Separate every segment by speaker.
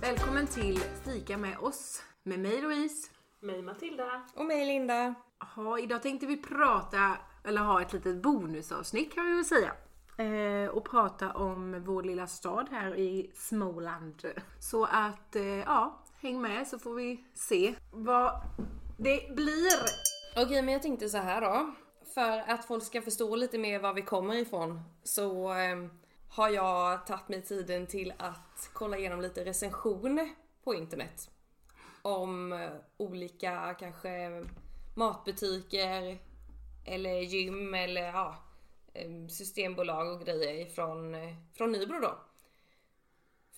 Speaker 1: Välkommen till Fika med oss med mig Louise.
Speaker 2: Mig Matilda.
Speaker 3: Och mig Linda.
Speaker 1: Jaha, idag tänkte vi prata, eller ha ett litet bonusavsnitt kan vi väl säga. Eh, och prata om vår lilla stad här i Småland. Så att, eh, ja, häng med så får vi se vad det blir.
Speaker 3: Okej, men jag tänkte så här då. För att folk ska förstå lite mer var vi kommer ifrån så eh, har jag tagit mig tiden till att kolla igenom lite recensioner på internet. Om eh, olika kanske matbutiker eller gym eller ja, eh, systembolag och grejer från, eh, från Nybro då.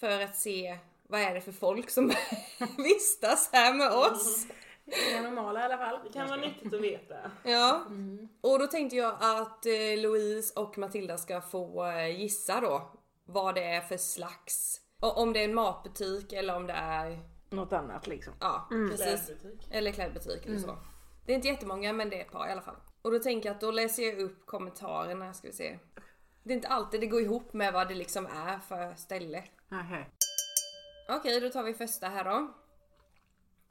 Speaker 3: För att se vad är det för folk som vistas här med oss.
Speaker 1: Det är normala i alla fall.
Speaker 2: Det kan vara nyttigt att veta.
Speaker 3: Ja, och då tänkte jag att eh, Louise och Matilda ska få eh, gissa då vad det är för slags, o- om det är en matbutik eller om det är,
Speaker 1: Något annat liksom.
Speaker 3: ja precis, eller klädbutik eller så. Det är inte jättemånga men det är ett par i alla fall. Och då tänker jag att då läser jag upp kommentarerna ska vi se. Det är inte alltid det går ihop med vad det liksom är för ställe.
Speaker 1: Nähä.
Speaker 3: Okej, då tar vi första här då.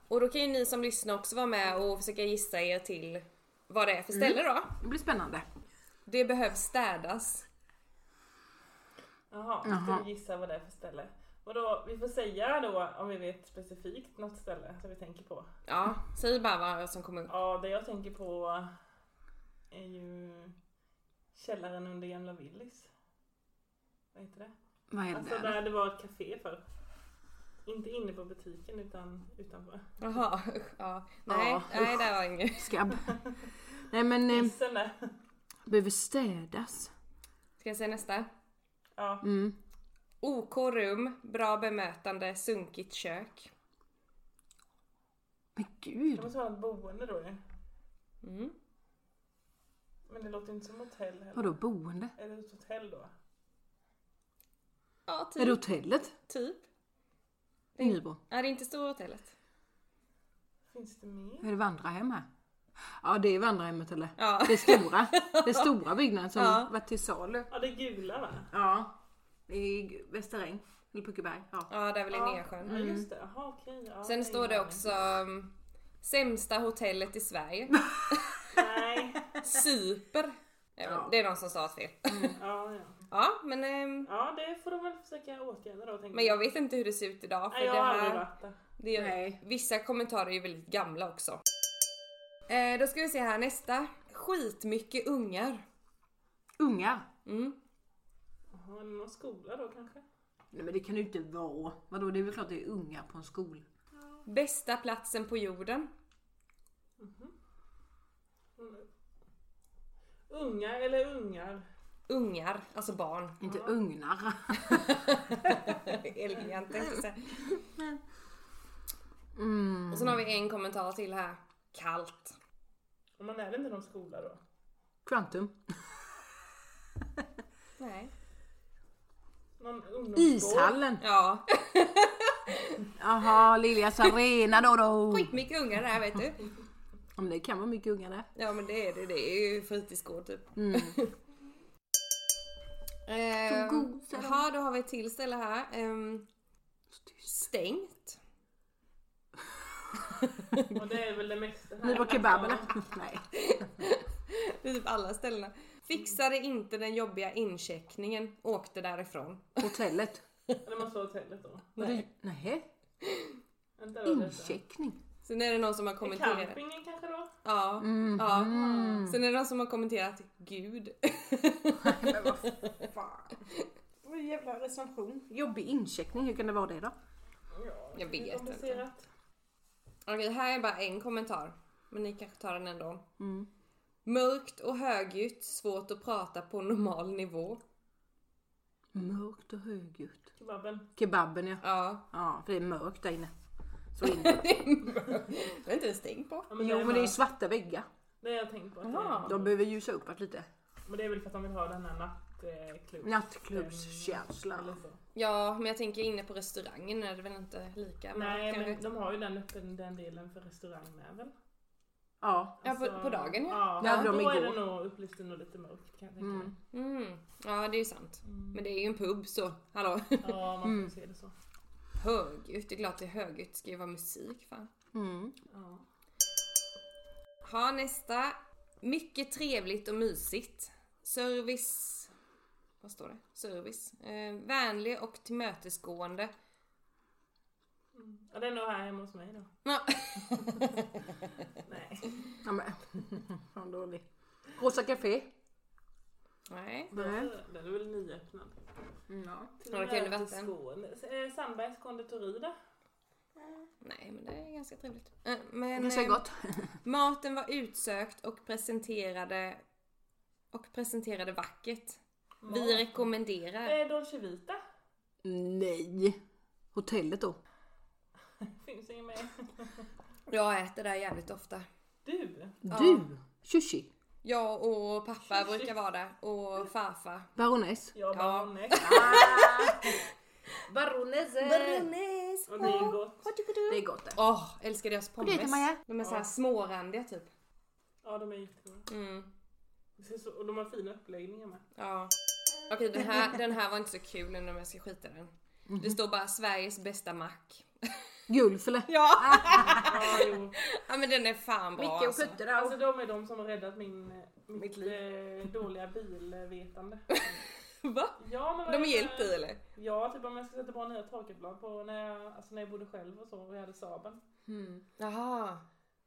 Speaker 3: Och då kan ju ni som lyssnar också vara med och försöka gissa er till vad det är för ställe då.
Speaker 1: Det blir spännande.
Speaker 3: Det behövs städas.
Speaker 2: Jaha, nu ska vi gissa vad det är för ställe. Vadå, vi får säga då om vi vet specifikt något ställe som vi tänker på.
Speaker 3: Ja, säg bara vad som kommer upp.
Speaker 2: Ja, det jag tänker på är ju källaren under gamla Willys. Vad heter det?
Speaker 1: Vad är
Speaker 2: Alltså
Speaker 1: det?
Speaker 2: där det var ett café förr. Inte inne på butiken utan utanför.
Speaker 3: Jaha, usch, ja. Nej,
Speaker 1: Ja,
Speaker 3: nej det var inget.
Speaker 1: Skabb. Nej men, eh,
Speaker 2: Hissen där.
Speaker 1: behöver städas.
Speaker 3: Ska jag säga nästa?
Speaker 2: Ja,
Speaker 3: OK rum, bra bemötande, sunkigt kök.
Speaker 1: Men gud.
Speaker 2: det måste vara ett boende då ju.
Speaker 3: Mm.
Speaker 2: Men det låter inte som hotell heller.
Speaker 1: Vadå boende?
Speaker 2: Är det ett hotell då?
Speaker 3: Ja,
Speaker 1: Är det
Speaker 3: typ.
Speaker 1: hotellet?
Speaker 3: typ.
Speaker 1: I Nybro?
Speaker 3: Ja, det är inte stora hotellet.
Speaker 2: Finns det mer?
Speaker 1: Är det vandrarhem här? Ja det är vandrarhemmet eller?
Speaker 3: Ja.
Speaker 1: Det stora. Det stora byggnaden som
Speaker 3: Ja.
Speaker 1: var till salu.
Speaker 2: Ja, det är gula va?
Speaker 1: Ja. I Västeräng. Eller Puckeberg. Ja.
Speaker 3: Ja, där väl i
Speaker 2: Ja.
Speaker 3: Nersjön.
Speaker 2: Ja just det, jaha okej. Ja,
Speaker 3: Sen
Speaker 2: nej,
Speaker 3: står det
Speaker 2: nej.
Speaker 3: också mm, sämsta hotellet i Sverige.
Speaker 2: Nej.
Speaker 3: Super. Ja. Det är någon som sa ett fel.
Speaker 2: Ja, ja.
Speaker 3: Ja, men, ehm,
Speaker 2: ja det får de väl försöka åtgärda då. Tänker
Speaker 3: men jag vet inte hur det ser ut idag. För
Speaker 2: Nej, jag
Speaker 3: det
Speaker 2: har aldrig
Speaker 3: här...
Speaker 2: varit där.
Speaker 3: Det är,
Speaker 1: Nej.
Speaker 3: Vissa kommentarer är ju väldigt gamla också. Eh, då ska vi se här nästa. Skitmycket ungar.
Speaker 1: Ungar.
Speaker 3: Mm.
Speaker 2: Jaha, är det någon skola då kanske?
Speaker 1: Nej men det kan det ju inte vara. Vadå det är väl klart det är ungar på en skola.
Speaker 3: Bästa platsen på jorden.
Speaker 2: Mm. Ungar eller ungar?
Speaker 3: Ungar, alltså barn.
Speaker 1: Inte ugnar.
Speaker 3: Elegant, tänkte jag säga. Och sen har vi en kommentar till här. Kallt.
Speaker 2: Och man är väl inte någon skola då?
Speaker 1: Kvantum.
Speaker 3: Nej.
Speaker 2: Någon ungdomsgård?
Speaker 1: Ishallen.
Speaker 3: Ja,
Speaker 1: Jaha Liljas arena då då.
Speaker 3: skitmycket ungar där vet du.
Speaker 1: Ja, men det kan vara mycket ungar där.
Speaker 3: Ja men det är det, det är ju fritidsgård typ.
Speaker 1: Så
Speaker 3: Ehm,
Speaker 1: gosa de.
Speaker 3: Jaha, då har vi ett till ställe här. Ehm,
Speaker 1: Så tyst.
Speaker 3: stängt.
Speaker 2: Och det är väl det mesta här.
Speaker 1: Ni var kebaberna? Nej.
Speaker 3: Det är typ alla ställena. Fixade inte den jobbiga incheckningen, åkte därifrån.
Speaker 1: Hotellet?
Speaker 2: Ja, Det måste vara hotellet då.
Speaker 1: Nej. Nej.
Speaker 2: Vänta då lite.
Speaker 1: Incheckning?
Speaker 3: Sen är det någon som har
Speaker 2: Är
Speaker 3: kommenterat.
Speaker 2: Campingen kanske då?
Speaker 3: Ja, ja. Sen är det någon som har kommenterat Gud.
Speaker 1: Men vad fan. Vad jävla recension. Jobbig incheckning, hur kan det vara det då?
Speaker 2: Ja,
Speaker 3: Jag
Speaker 2: det är
Speaker 3: vet inte.
Speaker 2: komplicerat.
Speaker 3: Okej, här är bara en kommentar. Men ni kanske tar den ändå. Mörkt och högljutt, svårt att prata på normal nivå.
Speaker 1: Mörkt och högljutt.
Speaker 2: Kebaben.
Speaker 1: Kebaben ja.
Speaker 3: Ja,
Speaker 1: Ja, för det är mörkt där inne. Så inne.
Speaker 3: det är inte ens tänkt på.
Speaker 2: Ja, men
Speaker 1: Jo
Speaker 2: det, är
Speaker 1: men det är ju
Speaker 2: bara-
Speaker 1: svarta väggar.
Speaker 2: det har jag tänkt på. Att det är.
Speaker 3: Ja.
Speaker 1: De behöver ljusa upp lite.
Speaker 2: Men det är väl för att de vill ha den här nattklubben. Eller
Speaker 1: Nattklubbskänslan.
Speaker 2: så.
Speaker 3: ja, men jag tänker inne på restaurangen är det väl inte lika.
Speaker 2: Nej
Speaker 3: kanske-
Speaker 2: men de har ju den öppen den delen för restaurang med väl?
Speaker 1: Ja.
Speaker 3: Ja, på, på dagen ja.
Speaker 2: Ja,
Speaker 1: Det hade
Speaker 2: då
Speaker 1: de
Speaker 2: är
Speaker 1: igår.
Speaker 2: det nog upplyst och lite mörkt kan jag tänka mig.
Speaker 3: Mm. Ja, det är ju sant. Men det är ju en pub så, hallå.
Speaker 2: Ja man får se det så.
Speaker 3: högljutt. Det är klart det är högljutt. Ska ju vara musik fan.
Speaker 1: Mm.
Speaker 2: Ja.
Speaker 3: Ha nästa. Mycket trevligt och mysigt. Service. Vad står det? Service. Eh, vänlig och tillmötesgående.
Speaker 2: ja, det är nog här hemma hos mig då.
Speaker 3: Nå,
Speaker 2: Nej.
Speaker 1: Ja, men. Fan dålig. Rosa Café.
Speaker 3: Nej.
Speaker 1: Nej.
Speaker 2: Den är väl nyöppnad.
Speaker 1: Ja.
Speaker 2: Till
Speaker 3: Ja, det kan ju vatten.
Speaker 2: Skåne. Eh, Sandbergs konditori då?
Speaker 3: Nej, men det är ganska trevligt. Eh, Men,
Speaker 1: Det ser
Speaker 3: eh,
Speaker 1: gott.
Speaker 3: Maten var utsökt och presenterade och presenterade vackert. Vi rekommenderar.
Speaker 2: Eh, Dolce Vita.
Speaker 1: Nej. Hotellet då?
Speaker 2: Finns ingen mer.
Speaker 3: Jag äter där jävligt ofta.
Speaker 2: Du!
Speaker 1: Du! Tjushi.
Speaker 3: Jag och pappa brukar vara där och farfar.
Speaker 1: Baroness.
Speaker 2: Jag
Speaker 3: Ja.
Speaker 2: bara ja.
Speaker 1: Baronesse!
Speaker 3: Eh.
Speaker 2: Och det är gott.
Speaker 1: Det är gott det.
Speaker 3: Åh, älskar deras
Speaker 1: det
Speaker 3: pommes.
Speaker 1: äter man, ja.
Speaker 3: De är så här smårandiga typ.
Speaker 2: Ja, de är jättegoda.
Speaker 3: Mm,
Speaker 2: Det ser så- Och de har fina uppläggningar med.
Speaker 3: ja. Okej, den, här, den här var inte så kul nu om jag ska skita i den.
Speaker 2: Mhm.
Speaker 3: Det står bara Sveriges bästa mack.
Speaker 1: Julfele.
Speaker 3: Ja!
Speaker 2: Ja, jo.
Speaker 3: ja men den är fan bra
Speaker 1: Micke och
Speaker 3: alltså.
Speaker 1: Putte där.
Speaker 2: Alltså de är de som har räddat min, eh, mitt,
Speaker 1: Mitt liv.
Speaker 2: Eh, dåliga bilvetande.
Speaker 3: Va?
Speaker 2: Ja, men vad
Speaker 3: De är
Speaker 2: heter-
Speaker 3: hjälpt i eller?
Speaker 2: Ja, typ om jag ska sätta på nya torkarplan på när jag, alltså när jag bodde själv och så och jag hade Saaben.
Speaker 3: Jaha.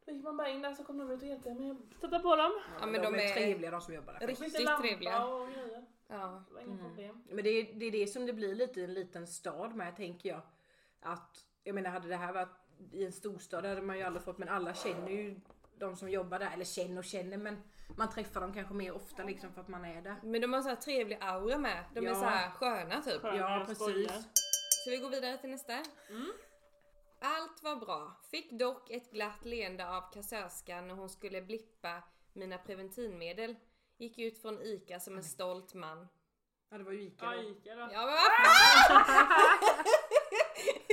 Speaker 2: Då gick man bara in där så kom de ut och hjälpte mig att sätta på dem.
Speaker 3: Ja men de är...
Speaker 1: trevliga de som jobbar där.
Speaker 2: Det finns
Speaker 3: Riktigt
Speaker 2: lampa
Speaker 3: trevliga. Mm.
Speaker 2: och grejer.
Speaker 3: Ja.
Speaker 2: Det var inga problem.
Speaker 1: Men det är, det är det som det blir lite i en liten stad med tänker jag. Att, jag menar hade det här varit i en storstad hade man ju aldrig fått men alla känner ju de som jobbar där. Eller känner och känner men man träffar dem kanske mer ofta liksom för att man är där.
Speaker 3: Men de har så här trevlig aura med. De är
Speaker 1: Ja.
Speaker 3: så här sköna typ.
Speaker 2: Sköna
Speaker 1: Ja, precis.
Speaker 2: skojar.
Speaker 3: Ska vi gå vidare till nästa?
Speaker 2: Mm.
Speaker 3: Allt var bra. Fick dock ett glatt leende av kassörskan när hon skulle blippa mina preventivmedel. Gick ut från ICA som en stolt man.
Speaker 1: Ja det var ju Ica
Speaker 2: Ja,
Speaker 1: då.
Speaker 2: Ica då.
Speaker 3: Ja men vad fan!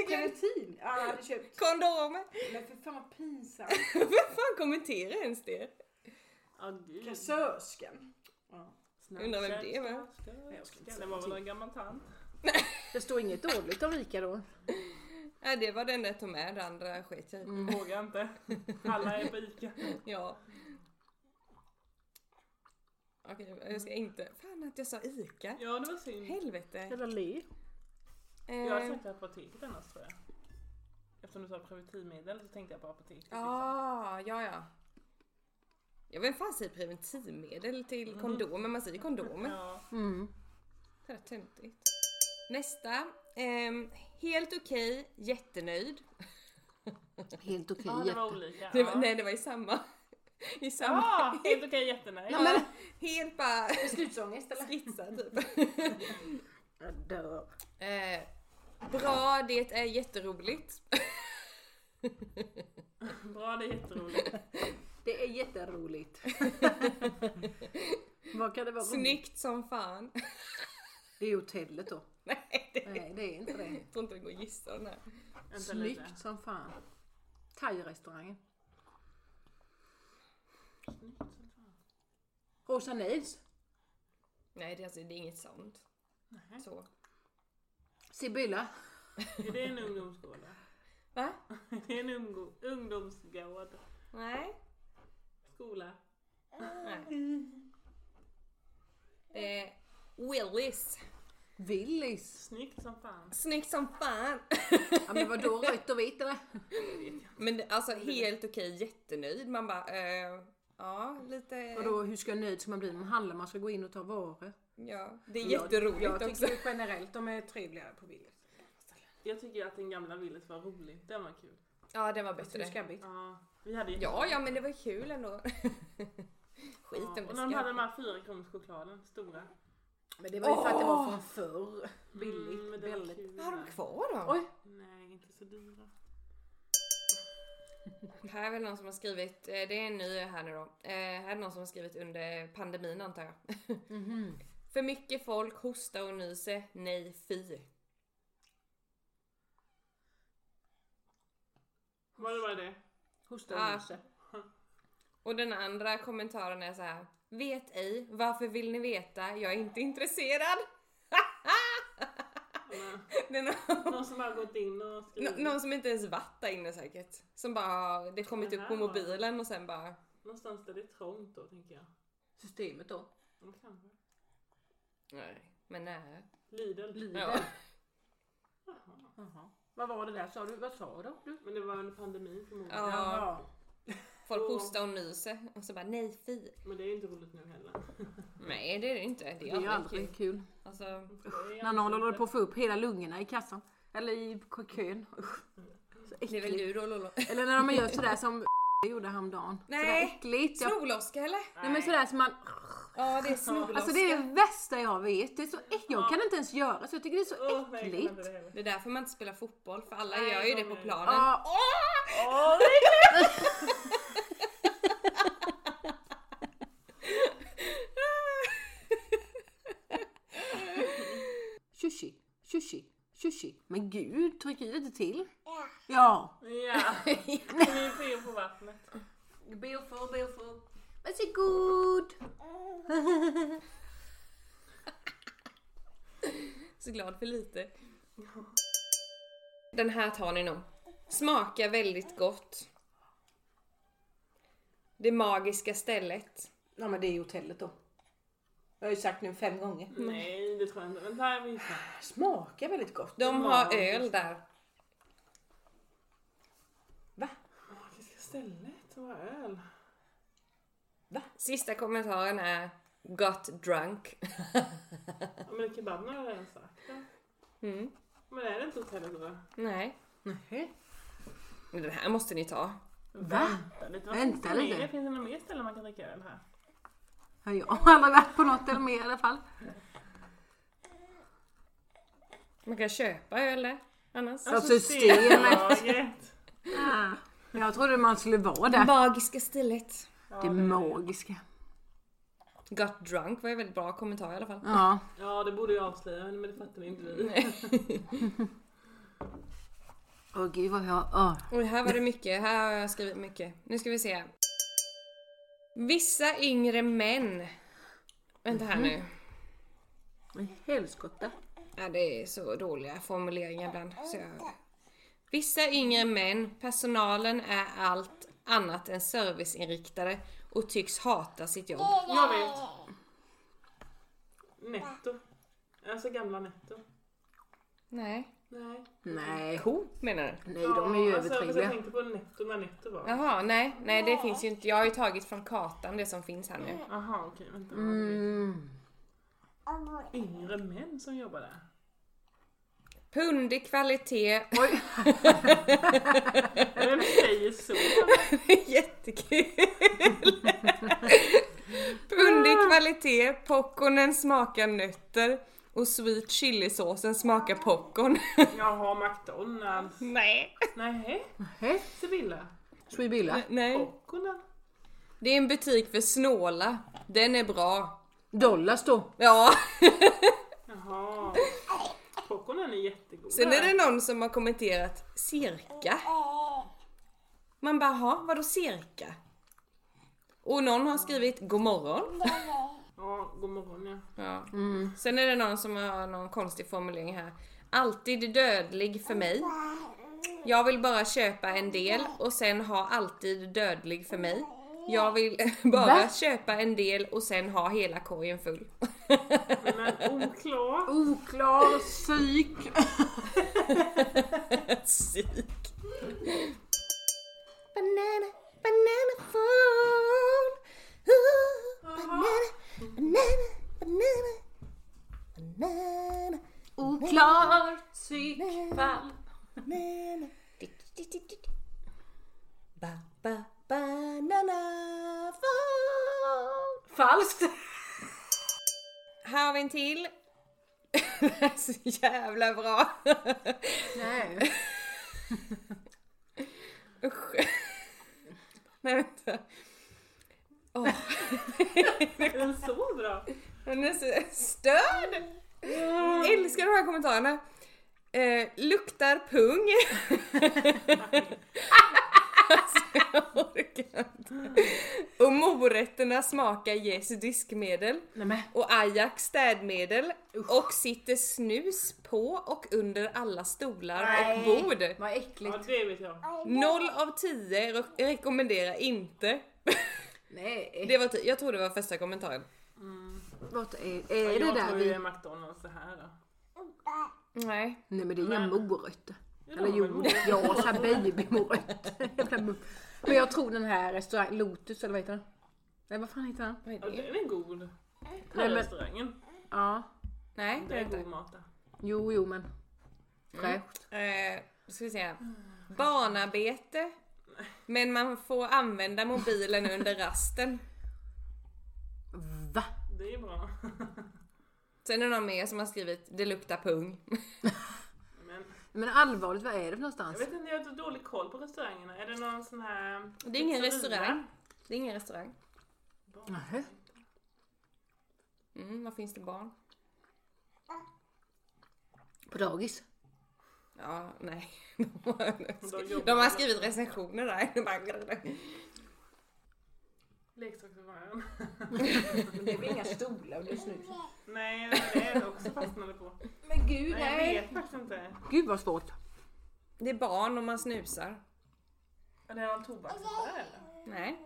Speaker 1: Preventin! Ja jag hade köpt.
Speaker 3: Kondomer!
Speaker 1: Men för fan vad pinsamt.
Speaker 3: Vem fan kommenterar ens det?
Speaker 2: Ja, gud.
Speaker 1: Kassörskan.
Speaker 3: Undrar vem det var?
Speaker 1: jag ska inte
Speaker 2: Det var väl en gammal tant.
Speaker 1: Det står inget dåligt om Ica då.
Speaker 3: Nej det var den där jag tog med, det andra sket jag i.
Speaker 2: Vågar inte. Alla är på Ica.
Speaker 3: Ja. Okej, jag ska inte... Fan att jag sa ICA.
Speaker 2: Ja, det var synd.
Speaker 3: Helvete.
Speaker 1: Eller le.
Speaker 2: Jag har
Speaker 3: Eh,
Speaker 2: sagt apoteket annars tror jag. Eftersom du sa preventivmedel så tänkte jag på apoteket. liksom.
Speaker 3: Ah, ja, ja. Jag vem fan säger preventivmedel till kondomer? Man säger
Speaker 2: liksom.
Speaker 3: kondomer.
Speaker 2: Ja.
Speaker 1: Mm.
Speaker 3: Det är rätt töntigt. Nästa. Ehm, helt okej, jättenöjd.
Speaker 1: Helt okej.
Speaker 2: ja, det var olika.
Speaker 3: Det var,
Speaker 2: ja.
Speaker 3: Nej, det var i samma. I samma.
Speaker 2: Ah, helt okej, jättenöjd.
Speaker 3: Ja, men, helt bara
Speaker 1: Beslutsångest eller?
Speaker 3: skritsa typ.
Speaker 1: Jag dör.
Speaker 3: Eh, bra, det är jätteroligt.
Speaker 2: Bra, det är jätteroligt.
Speaker 1: Det är jätteroligt. Vad kan det vara? roligt?
Speaker 3: Snyggt som fan.
Speaker 1: Det är ju hotellet då.
Speaker 3: Nej, det,
Speaker 1: Nej, det är inte det.
Speaker 3: jag tror inte det går att gissa den här.
Speaker 2: Vänta lite.
Speaker 1: Snyggt som fan. Thai-restaurangen.
Speaker 2: Snyggt som fan.
Speaker 1: Rosa Nails.
Speaker 3: Nej, det, är alltså, det är inget sånt. Så.
Speaker 1: Sibylla.
Speaker 2: Är det en ungdomsgård? då?
Speaker 3: Va?
Speaker 2: Är det en ungdom, ungdomsgård?
Speaker 3: Nej.
Speaker 2: Skola?
Speaker 3: Eh, Willis.
Speaker 1: Willys.
Speaker 2: Snyggt som fan.
Speaker 3: Snyggt som fan.
Speaker 1: Ja men vadå rött och vitt eller?
Speaker 3: Men det- alltså helt okej, jättenöjd. Man bara, eh, ja lite...
Speaker 1: Vadå hur ska nöjd som man blir när man handlar? Man ska gå in och ta varor.
Speaker 3: Ja, det är jätteroligt
Speaker 1: jag, jag
Speaker 3: också.
Speaker 1: tycker generellt de är trevligare på Willys.
Speaker 2: Jag tycker att den gamla Willys var rolig. Den var kul.
Speaker 3: Ja, det var
Speaker 1: Det är
Speaker 3: bättre.
Speaker 1: skabbigt.
Speaker 2: Ja, vi hade
Speaker 3: Ja, ja men det var kul ändå. Skit
Speaker 2: Ja,
Speaker 3: om det
Speaker 2: Och när de hade
Speaker 3: ska.
Speaker 2: de här fyra kronors chokladen, stora.
Speaker 1: Men det var ju för att det var från förr. Billigt.
Speaker 2: Mm, men det var
Speaker 1: billigt.
Speaker 2: kul
Speaker 3: Vad har de
Speaker 2: med.
Speaker 3: kvar då?
Speaker 1: Oj.
Speaker 2: Nej, inte så dyra.
Speaker 3: Här är väl någon som har skrivit, eh, det är en ny här nu då. Eh, Här är någon som har skrivit under pandemin antar jag.
Speaker 1: Mhm.
Speaker 3: För mycket folk hostar och nyser, nej fy.
Speaker 2: Vad var det?
Speaker 1: Hosta och
Speaker 3: Ah.
Speaker 1: nysa.
Speaker 3: Och den andra kommentaren är så här. Vet ej, varför vill ni veta? Jag är inte intresserad. Det är nå-
Speaker 2: Någon som har gått in och skrivit.
Speaker 3: nå- någon som inte ens varit där inne säkert. Som bara har, det kommit upp på
Speaker 2: Aha.
Speaker 3: mobilen och sen bara
Speaker 2: Någonstans där det är trångt då tänker jag.
Speaker 1: Systemet då.
Speaker 2: Eller kanske.
Speaker 3: Nej. Men nej.
Speaker 2: Lidl.
Speaker 1: Lider.
Speaker 3: Ja.
Speaker 2: Jaha.
Speaker 1: Jaha. Vad var det där sa du? Vad sa du? du?
Speaker 2: Men det var under pandemin förmodligen.
Speaker 3: ja.
Speaker 1: Jaha.
Speaker 3: Folk hostar och nyser och så bara nej fy.
Speaker 2: Men det är ju inte roligt nu heller.
Speaker 3: Nej det är det inte. Det
Speaker 1: Det
Speaker 3: är,
Speaker 1: är ju
Speaker 3: aldrig
Speaker 1: aldrig
Speaker 3: kul.
Speaker 1: kul.
Speaker 3: Alltså,
Speaker 2: För det är
Speaker 1: När någon
Speaker 2: absolut-
Speaker 1: håller på att få upp hela lungorna i kassan. Eller i k- kön. Usch. Så
Speaker 3: det är väl
Speaker 1: äckligt.
Speaker 3: du då Lollo?
Speaker 1: Eller när de gör sådär som gjorde häromdagen.
Speaker 3: Nej.
Speaker 1: Sådär äckligt. Jag...
Speaker 3: Snoloska eller?
Speaker 1: Nej men sådär som man...
Speaker 3: Ja det är snoloska.
Speaker 1: Alltså det är det värsta jag vet. Det är så äckligt. Jag kan inte ens göra så. Jag tycker det är så
Speaker 2: Åh, nej, jag kan inte
Speaker 1: äckligt.
Speaker 2: det heller.
Speaker 3: Det är därför man inte spelar fotboll, för alla
Speaker 2: Nej,
Speaker 3: gör ju det
Speaker 2: de
Speaker 3: på
Speaker 2: är-
Speaker 3: planen.
Speaker 1: Ja,
Speaker 2: Åh, det är-
Speaker 1: tjushi, tjushi, tjushi. Men gud, tryck i lite till. Ja.
Speaker 2: Ja, det är fel på vattnet.
Speaker 1: Beautiful, beautiful. Varsågod.
Speaker 3: Så glad för lite. Den här tar ni nog. Smakar väldigt gott. Det magiska stället.
Speaker 1: Ja men det är ju hotellet då. Jag har ju sagt nu fem gånger.
Speaker 2: Nej, det tror jag inte. Vänta, här vi hittar.
Speaker 1: Smakar väldigt gott.
Speaker 3: De har öl där.
Speaker 1: Va?
Speaker 2: Magiska stället, vad öl.
Speaker 3: Sista kommentaren är Got drunk.
Speaker 2: Ja, men kebaben har jag redan sagt. Ja.
Speaker 3: Mm.
Speaker 2: Men är det inte hotellet då?
Speaker 3: Nej.
Speaker 1: Nej.
Speaker 3: Men den här måste ni ta.
Speaker 1: Va?
Speaker 2: Vänta lite. vad
Speaker 1: Vänta
Speaker 2: finns det
Speaker 1: lite.
Speaker 2: mer? Finns det några mer ställen man kan dricka öl här?
Speaker 1: Ja, Jag har aldrig varit på något eller mer i alla fall.
Speaker 3: Man kan köpa öl där. Annars.
Speaker 1: Alltså, Systemet.
Speaker 2: Systemet.
Speaker 1: Ah. Men jag trodde man skulle vara där.
Speaker 3: Magiska stället.
Speaker 1: Det magiska.
Speaker 3: Got drunk var ju väldigt bra kommentar i alla fall.
Speaker 1: Ja.
Speaker 2: Ja, det borde jag avslöja, men det fattar inte vi.
Speaker 1: Åh gud vad jag... åh.
Speaker 3: Oj, här var det mycket. Här har jag skrivit mycket. Nu ska vi se. Vissa yngre män. Vänta här nu.
Speaker 1: Men helskotta.
Speaker 3: Ja, det är så dåliga formuleringar ibland. Så jag... Vissa yngre män. Personalen är allt annat än serviceinriktade och tycks hata sitt jobb.
Speaker 2: Jag vet. Netto. Alltså gamla Netto.
Speaker 3: Nej.
Speaker 2: Nej.
Speaker 1: Nej.
Speaker 3: Coop menar du?
Speaker 1: Nej, de är ju
Speaker 2: Alltså, jag
Speaker 1: övertrevliga.
Speaker 2: tänkte på Netto när Netto var.
Speaker 3: Jaha, nej. Nej, det finns ju inte. Jag har ju tagit från kartan det som finns här nu.
Speaker 2: Aha, okej. Vänta.
Speaker 1: Mm.
Speaker 2: Yngre män som jobbar där.
Speaker 3: Pund i kvalitet.
Speaker 2: Vem säger så?
Speaker 3: Jättekul! Pundig kvalitet, popcornen smakar nötter och sweet chilisåsen smakar popcorn.
Speaker 2: Jaha, McDonalds.
Speaker 3: Nej.
Speaker 2: Nej,
Speaker 1: Hej,
Speaker 2: Sibylla.
Speaker 1: Swebilla.
Speaker 3: Nej.
Speaker 2: Popcornen.
Speaker 3: Det är en butik för snåla. Den är bra.
Speaker 1: Dollars då.
Speaker 3: Ja.
Speaker 2: Jaha. Popcornen är jättegod.
Speaker 3: Sen är det någon som har kommenterat cirka. Man bara, ha, vadå cirka? Och någon har skrivit god morgon.
Speaker 2: Ja, god morgon ja.
Speaker 3: Ja. Mm. Sen är det någon som har någon konstig formulering här. Alltid dödlig för mig. Jag vill bara köpa en del och sen ha alltid dödlig för mig. Jag vill bara
Speaker 1: Va?
Speaker 3: köpa en del och sen ha hela korgen full.
Speaker 2: Men oklar.
Speaker 1: Oklar, psyk.
Speaker 3: Psyk. Banana, banana phone. Ooh, banana, banana, banana. Banana,
Speaker 1: Oklar, psykfall.
Speaker 3: banana. Tick, tick, tick, tick. Ba, ba, banana phone.
Speaker 1: Falskt.
Speaker 3: Här har vi en till. Det här är så jävla bra.
Speaker 1: Nej.
Speaker 3: Usch. Nej vänta.
Speaker 2: Är den så bra?
Speaker 3: Hon är så störd! Älskar de här kommentarerna. Eh, luktar pung. Alltså, jag orkar inte. Och morötterna smakar Jesu diskmedel.
Speaker 1: Nej men.
Speaker 3: Och Ajax städmedel. Och sitter snus på och under alla stolar och bord.
Speaker 1: Vad äckligt.
Speaker 2: Ja, det vet jag.
Speaker 3: 0 av 10 re- rekommenderar inte.
Speaker 1: Nej.
Speaker 3: Det var ty- jag tror det var första kommentaren.
Speaker 1: Vad är, är det
Speaker 2: jag
Speaker 1: där
Speaker 2: tror ju
Speaker 1: vi...
Speaker 2: det är McDonalds det här då.
Speaker 3: Nej.
Speaker 1: Nej men det är inga
Speaker 2: Men-
Speaker 1: morötter.
Speaker 2: Ja,
Speaker 1: Eller
Speaker 2: men
Speaker 1: jo,
Speaker 2: morötter.
Speaker 1: ja såhär babymorötter. Jävla muff. men jag tror den här restaurangen, Lotus eller vad heter den? Nej vad fan heter den?
Speaker 3: Vad är
Speaker 2: Ja,
Speaker 3: det?
Speaker 2: den är god.
Speaker 1: Nej, men-
Speaker 2: Thai-restaurangen.
Speaker 1: Ja.
Speaker 3: Nej,
Speaker 2: Det
Speaker 3: det är
Speaker 2: är
Speaker 3: inte.
Speaker 2: god mat där.
Speaker 1: Jo, jo men. Fräscht.
Speaker 3: Eh, då ska vi se. Barnarbete. Men man får använda mobilen under rasten.
Speaker 1: Va?
Speaker 2: Det är bra.
Speaker 3: Sen är det någon mer som har skrivit det luktar pung.
Speaker 2: Men
Speaker 1: Men allvarligt, vad är det för
Speaker 2: jag
Speaker 1: någonstans?
Speaker 2: vet inte, jag har så dålig koll på restaurangerna. Är det någon sån här...
Speaker 3: Det är ingen
Speaker 2: pizzeria?
Speaker 3: restaurang. Det är ingen restaurang.
Speaker 1: Nähä.
Speaker 3: Mm, vad finns det barn?
Speaker 1: På dagis?
Speaker 3: Ja, nej. De har,
Speaker 2: jobbar
Speaker 3: de har
Speaker 2: med-
Speaker 3: skrivit recensioner där. De bara-
Speaker 2: Leksaksaffären.
Speaker 1: Men det är väl inga stolar och det är snus?
Speaker 2: Nej, det är det också fastnade på.
Speaker 1: Men gud
Speaker 2: Nej, jag vet faktiskt inte.
Speaker 1: Gud vad svårt.
Speaker 3: Det är barn om man snusar.
Speaker 2: Är det någon tobaksaffär
Speaker 1: Mm.
Speaker 2: eller?
Speaker 3: Nej.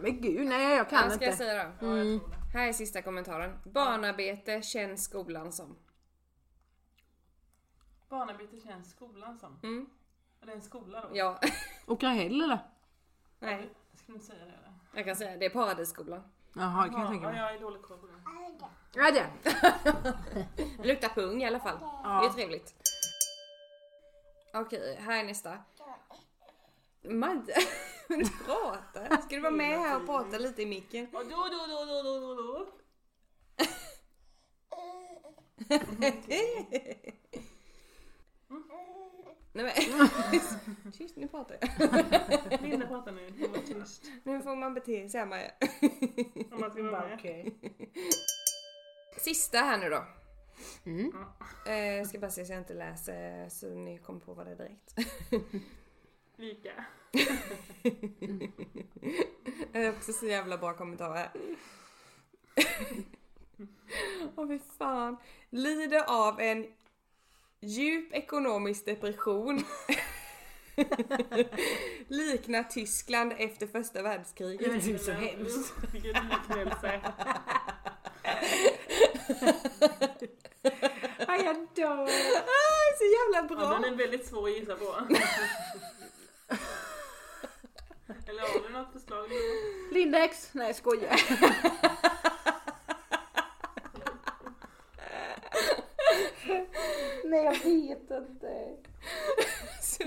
Speaker 1: Men gud, nej jag kan
Speaker 3: Vad ska
Speaker 1: inte.
Speaker 3: jag säga då?
Speaker 2: Ja, jag tror det.
Speaker 3: Här är sista kommentaren. Barnarbete känns skolan som.
Speaker 2: Barnarbete känns skolan som.
Speaker 3: Mm.
Speaker 2: Är det en skola då?
Speaker 3: Ja,
Speaker 1: Och Rahel eller?
Speaker 3: nej.
Speaker 2: Jag skulle inte säga det eller?
Speaker 3: Jag kan säga det är paradisskolan.
Speaker 1: Jaha, det kan jag
Speaker 2: Ja,
Speaker 1: tänka
Speaker 2: ja,
Speaker 1: mig.
Speaker 2: jag är dålig koll på det.
Speaker 1: Ja, det.
Speaker 3: Det luktar pung i alla fall. Det är
Speaker 1: Ja.
Speaker 3: trevligt. Okej, här är nästa. Madde, du pratar. Ska du vara med här och prata lite i micken?
Speaker 2: Och då, då, då, då, då, då, då.
Speaker 3: Nej men. Tyst, nu pratar jag.
Speaker 2: Linda pratar nu. Hon var tyst.
Speaker 3: Nu får man bete sig här Maja.
Speaker 2: Om man ska vara med.
Speaker 1: Okej.
Speaker 3: Sista här nu då.
Speaker 1: Mm.
Speaker 3: Eh, jag ska bara se så jag inte läser så ni kommer på vad det är direkt.
Speaker 2: Lika.
Speaker 3: Det är också så jävla bra kommentarer. Åh fy fan. Lider av en djup ekonomisk depression. Liknar Tyskland efter första
Speaker 1: Ja, men
Speaker 3: världskriget.
Speaker 1: hur som helst.
Speaker 2: Vilken liknelse.
Speaker 1: Ja, jag dör.
Speaker 3: Ah, så jävla
Speaker 2: Ja, den
Speaker 3: bra!
Speaker 2: är väldigt svår att gissa på. Eller har du något förslag? Lina?
Speaker 1: Lindex? Nej, jag skojar. Nej, jag vet inte.
Speaker 3: Så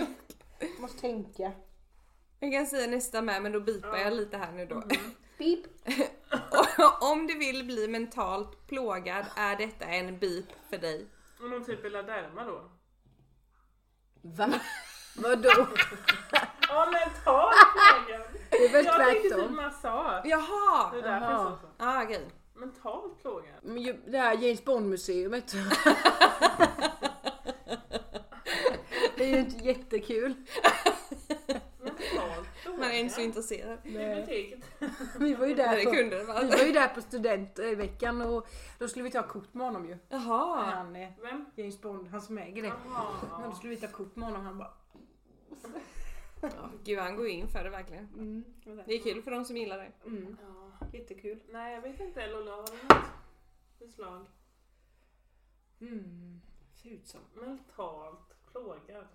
Speaker 1: Måste tänka.
Speaker 3: Jag kan säga nästa med men då bipar jag lite här nu då.
Speaker 1: Mm. Pip.
Speaker 3: Och Om du vill bli mentalt plågad är detta en bip för dig.
Speaker 2: Om någon typ vill därma då?
Speaker 1: Va? Vadå?
Speaker 2: Ja men ta plågad!
Speaker 1: Det är väl
Speaker 2: Jag tänkte typ
Speaker 1: tvärtom.
Speaker 2: massage. Det är
Speaker 3: Jaha!
Speaker 2: därför
Speaker 1: Jaha.
Speaker 2: jag sa så.
Speaker 3: Ah, okej.
Speaker 2: Mentalt plågad.
Speaker 1: Men ju- Det här James Bond-museet. Det är ju inte jättekul.
Speaker 2: Mentalt plågad.
Speaker 3: Man är inte så intresserad.
Speaker 2: Biblioteket.
Speaker 1: Vi var ju där
Speaker 3: Nej,
Speaker 1: på,
Speaker 3: det kunde det
Speaker 1: vi
Speaker 3: vara.
Speaker 1: var ju där på studentveckan och då skulle vi ta kort med honom ju.
Speaker 3: Jaha.
Speaker 1: Han, eh,
Speaker 2: Vem?
Speaker 1: James Bond, han som äger det. Men då
Speaker 2: Jaha.
Speaker 1: skulle vi ta kort med honom han bara
Speaker 3: Ja, Gud, han går in för det verkligen.
Speaker 1: mm,
Speaker 3: Det är kul för de som gillar det.
Speaker 1: mm,
Speaker 2: Ja.
Speaker 1: jättekul.
Speaker 2: Nej jag vet inte Lola, har du något förslag?
Speaker 1: Mm, ser ut som
Speaker 2: Mentalt plågad.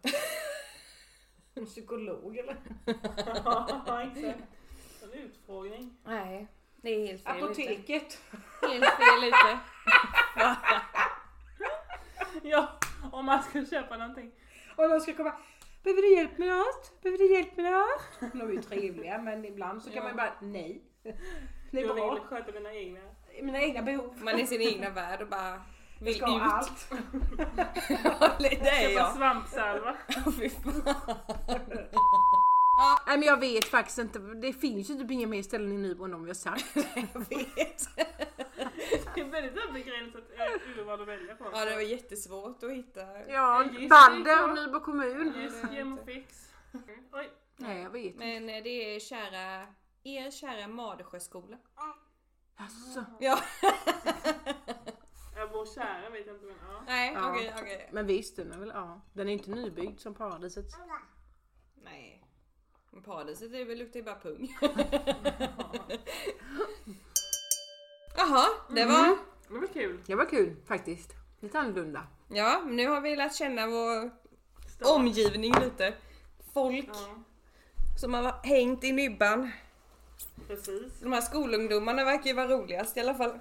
Speaker 1: en psykolog eller?
Speaker 2: Ja exakt. En utfrågning.
Speaker 3: Nej, det är helt fel ute.
Speaker 1: Apoteket.
Speaker 3: Helt fel ute.
Speaker 2: Ja, om man ska köpa någonting.
Speaker 1: Och de ska komma. Behöver du hjälp med något? Behöver du hjälp med något? De är ju trevliga men ibland så kan
Speaker 2: Ja.
Speaker 1: man ju bara nej. Det är
Speaker 2: Jag
Speaker 1: bra.
Speaker 2: vill sköta mina egna.
Speaker 1: Mina egna behov.
Speaker 3: Man är i sin egna värld och bara vill ut.
Speaker 1: Ska ha allt.
Speaker 3: Ja, det är
Speaker 2: Köpa
Speaker 3: jag.
Speaker 2: svampsalva.
Speaker 3: Åh, fy fan.
Speaker 1: Nej men jag vet faktiskt inte. Det finns ju typ inga mer ställen i Nybron än de vi har sagt.
Speaker 3: Jag vet.
Speaker 2: Det är väldigt där begränsat eh, urval att välja på.
Speaker 3: Ja, det var jättesvårt att hitta.
Speaker 1: Ja,
Speaker 2: Jag gissar
Speaker 1: Balder
Speaker 2: inte.
Speaker 1: och Nybro kommun.
Speaker 2: Yes,
Speaker 3: Nej, det är
Speaker 2: gem
Speaker 3: inte.
Speaker 2: och fix. Oj,
Speaker 1: Nej, jag vet inte.
Speaker 3: Men eh, det är kära, er kära Madesjöskola.
Speaker 1: Alltså.
Speaker 3: Ja,
Speaker 2: jag bor kära vet jag inte men ja.
Speaker 3: nej
Speaker 1: Ja.
Speaker 3: okej okej.
Speaker 1: Men visst, den är väl, ja. Den är inte nybyggd som paradiset.
Speaker 3: Nej. Men Paradiset det väl- luktar ju bara pung. Jaha, det var...
Speaker 2: Det var kul.
Speaker 1: Det var kul faktiskt. Lite annorlunda.
Speaker 3: Ja, men nu har vi lärt känna vår
Speaker 2: Stad.
Speaker 3: omgivning lite. Folk
Speaker 2: Ja,
Speaker 3: som har hängt i nybban.
Speaker 2: precis.
Speaker 3: De här skolungdomarna verkar ju vara roligast i alla fall.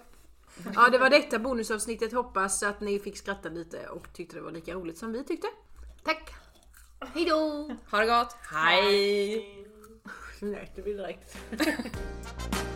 Speaker 1: Ja, det var detta bonusavsnittet. Hoppas att ni fick skratta lite och tyckte det var lika roligt som vi tyckte. Tack! Hejdå!
Speaker 3: Ha det gott, hej.
Speaker 1: Nej, det blir direkt.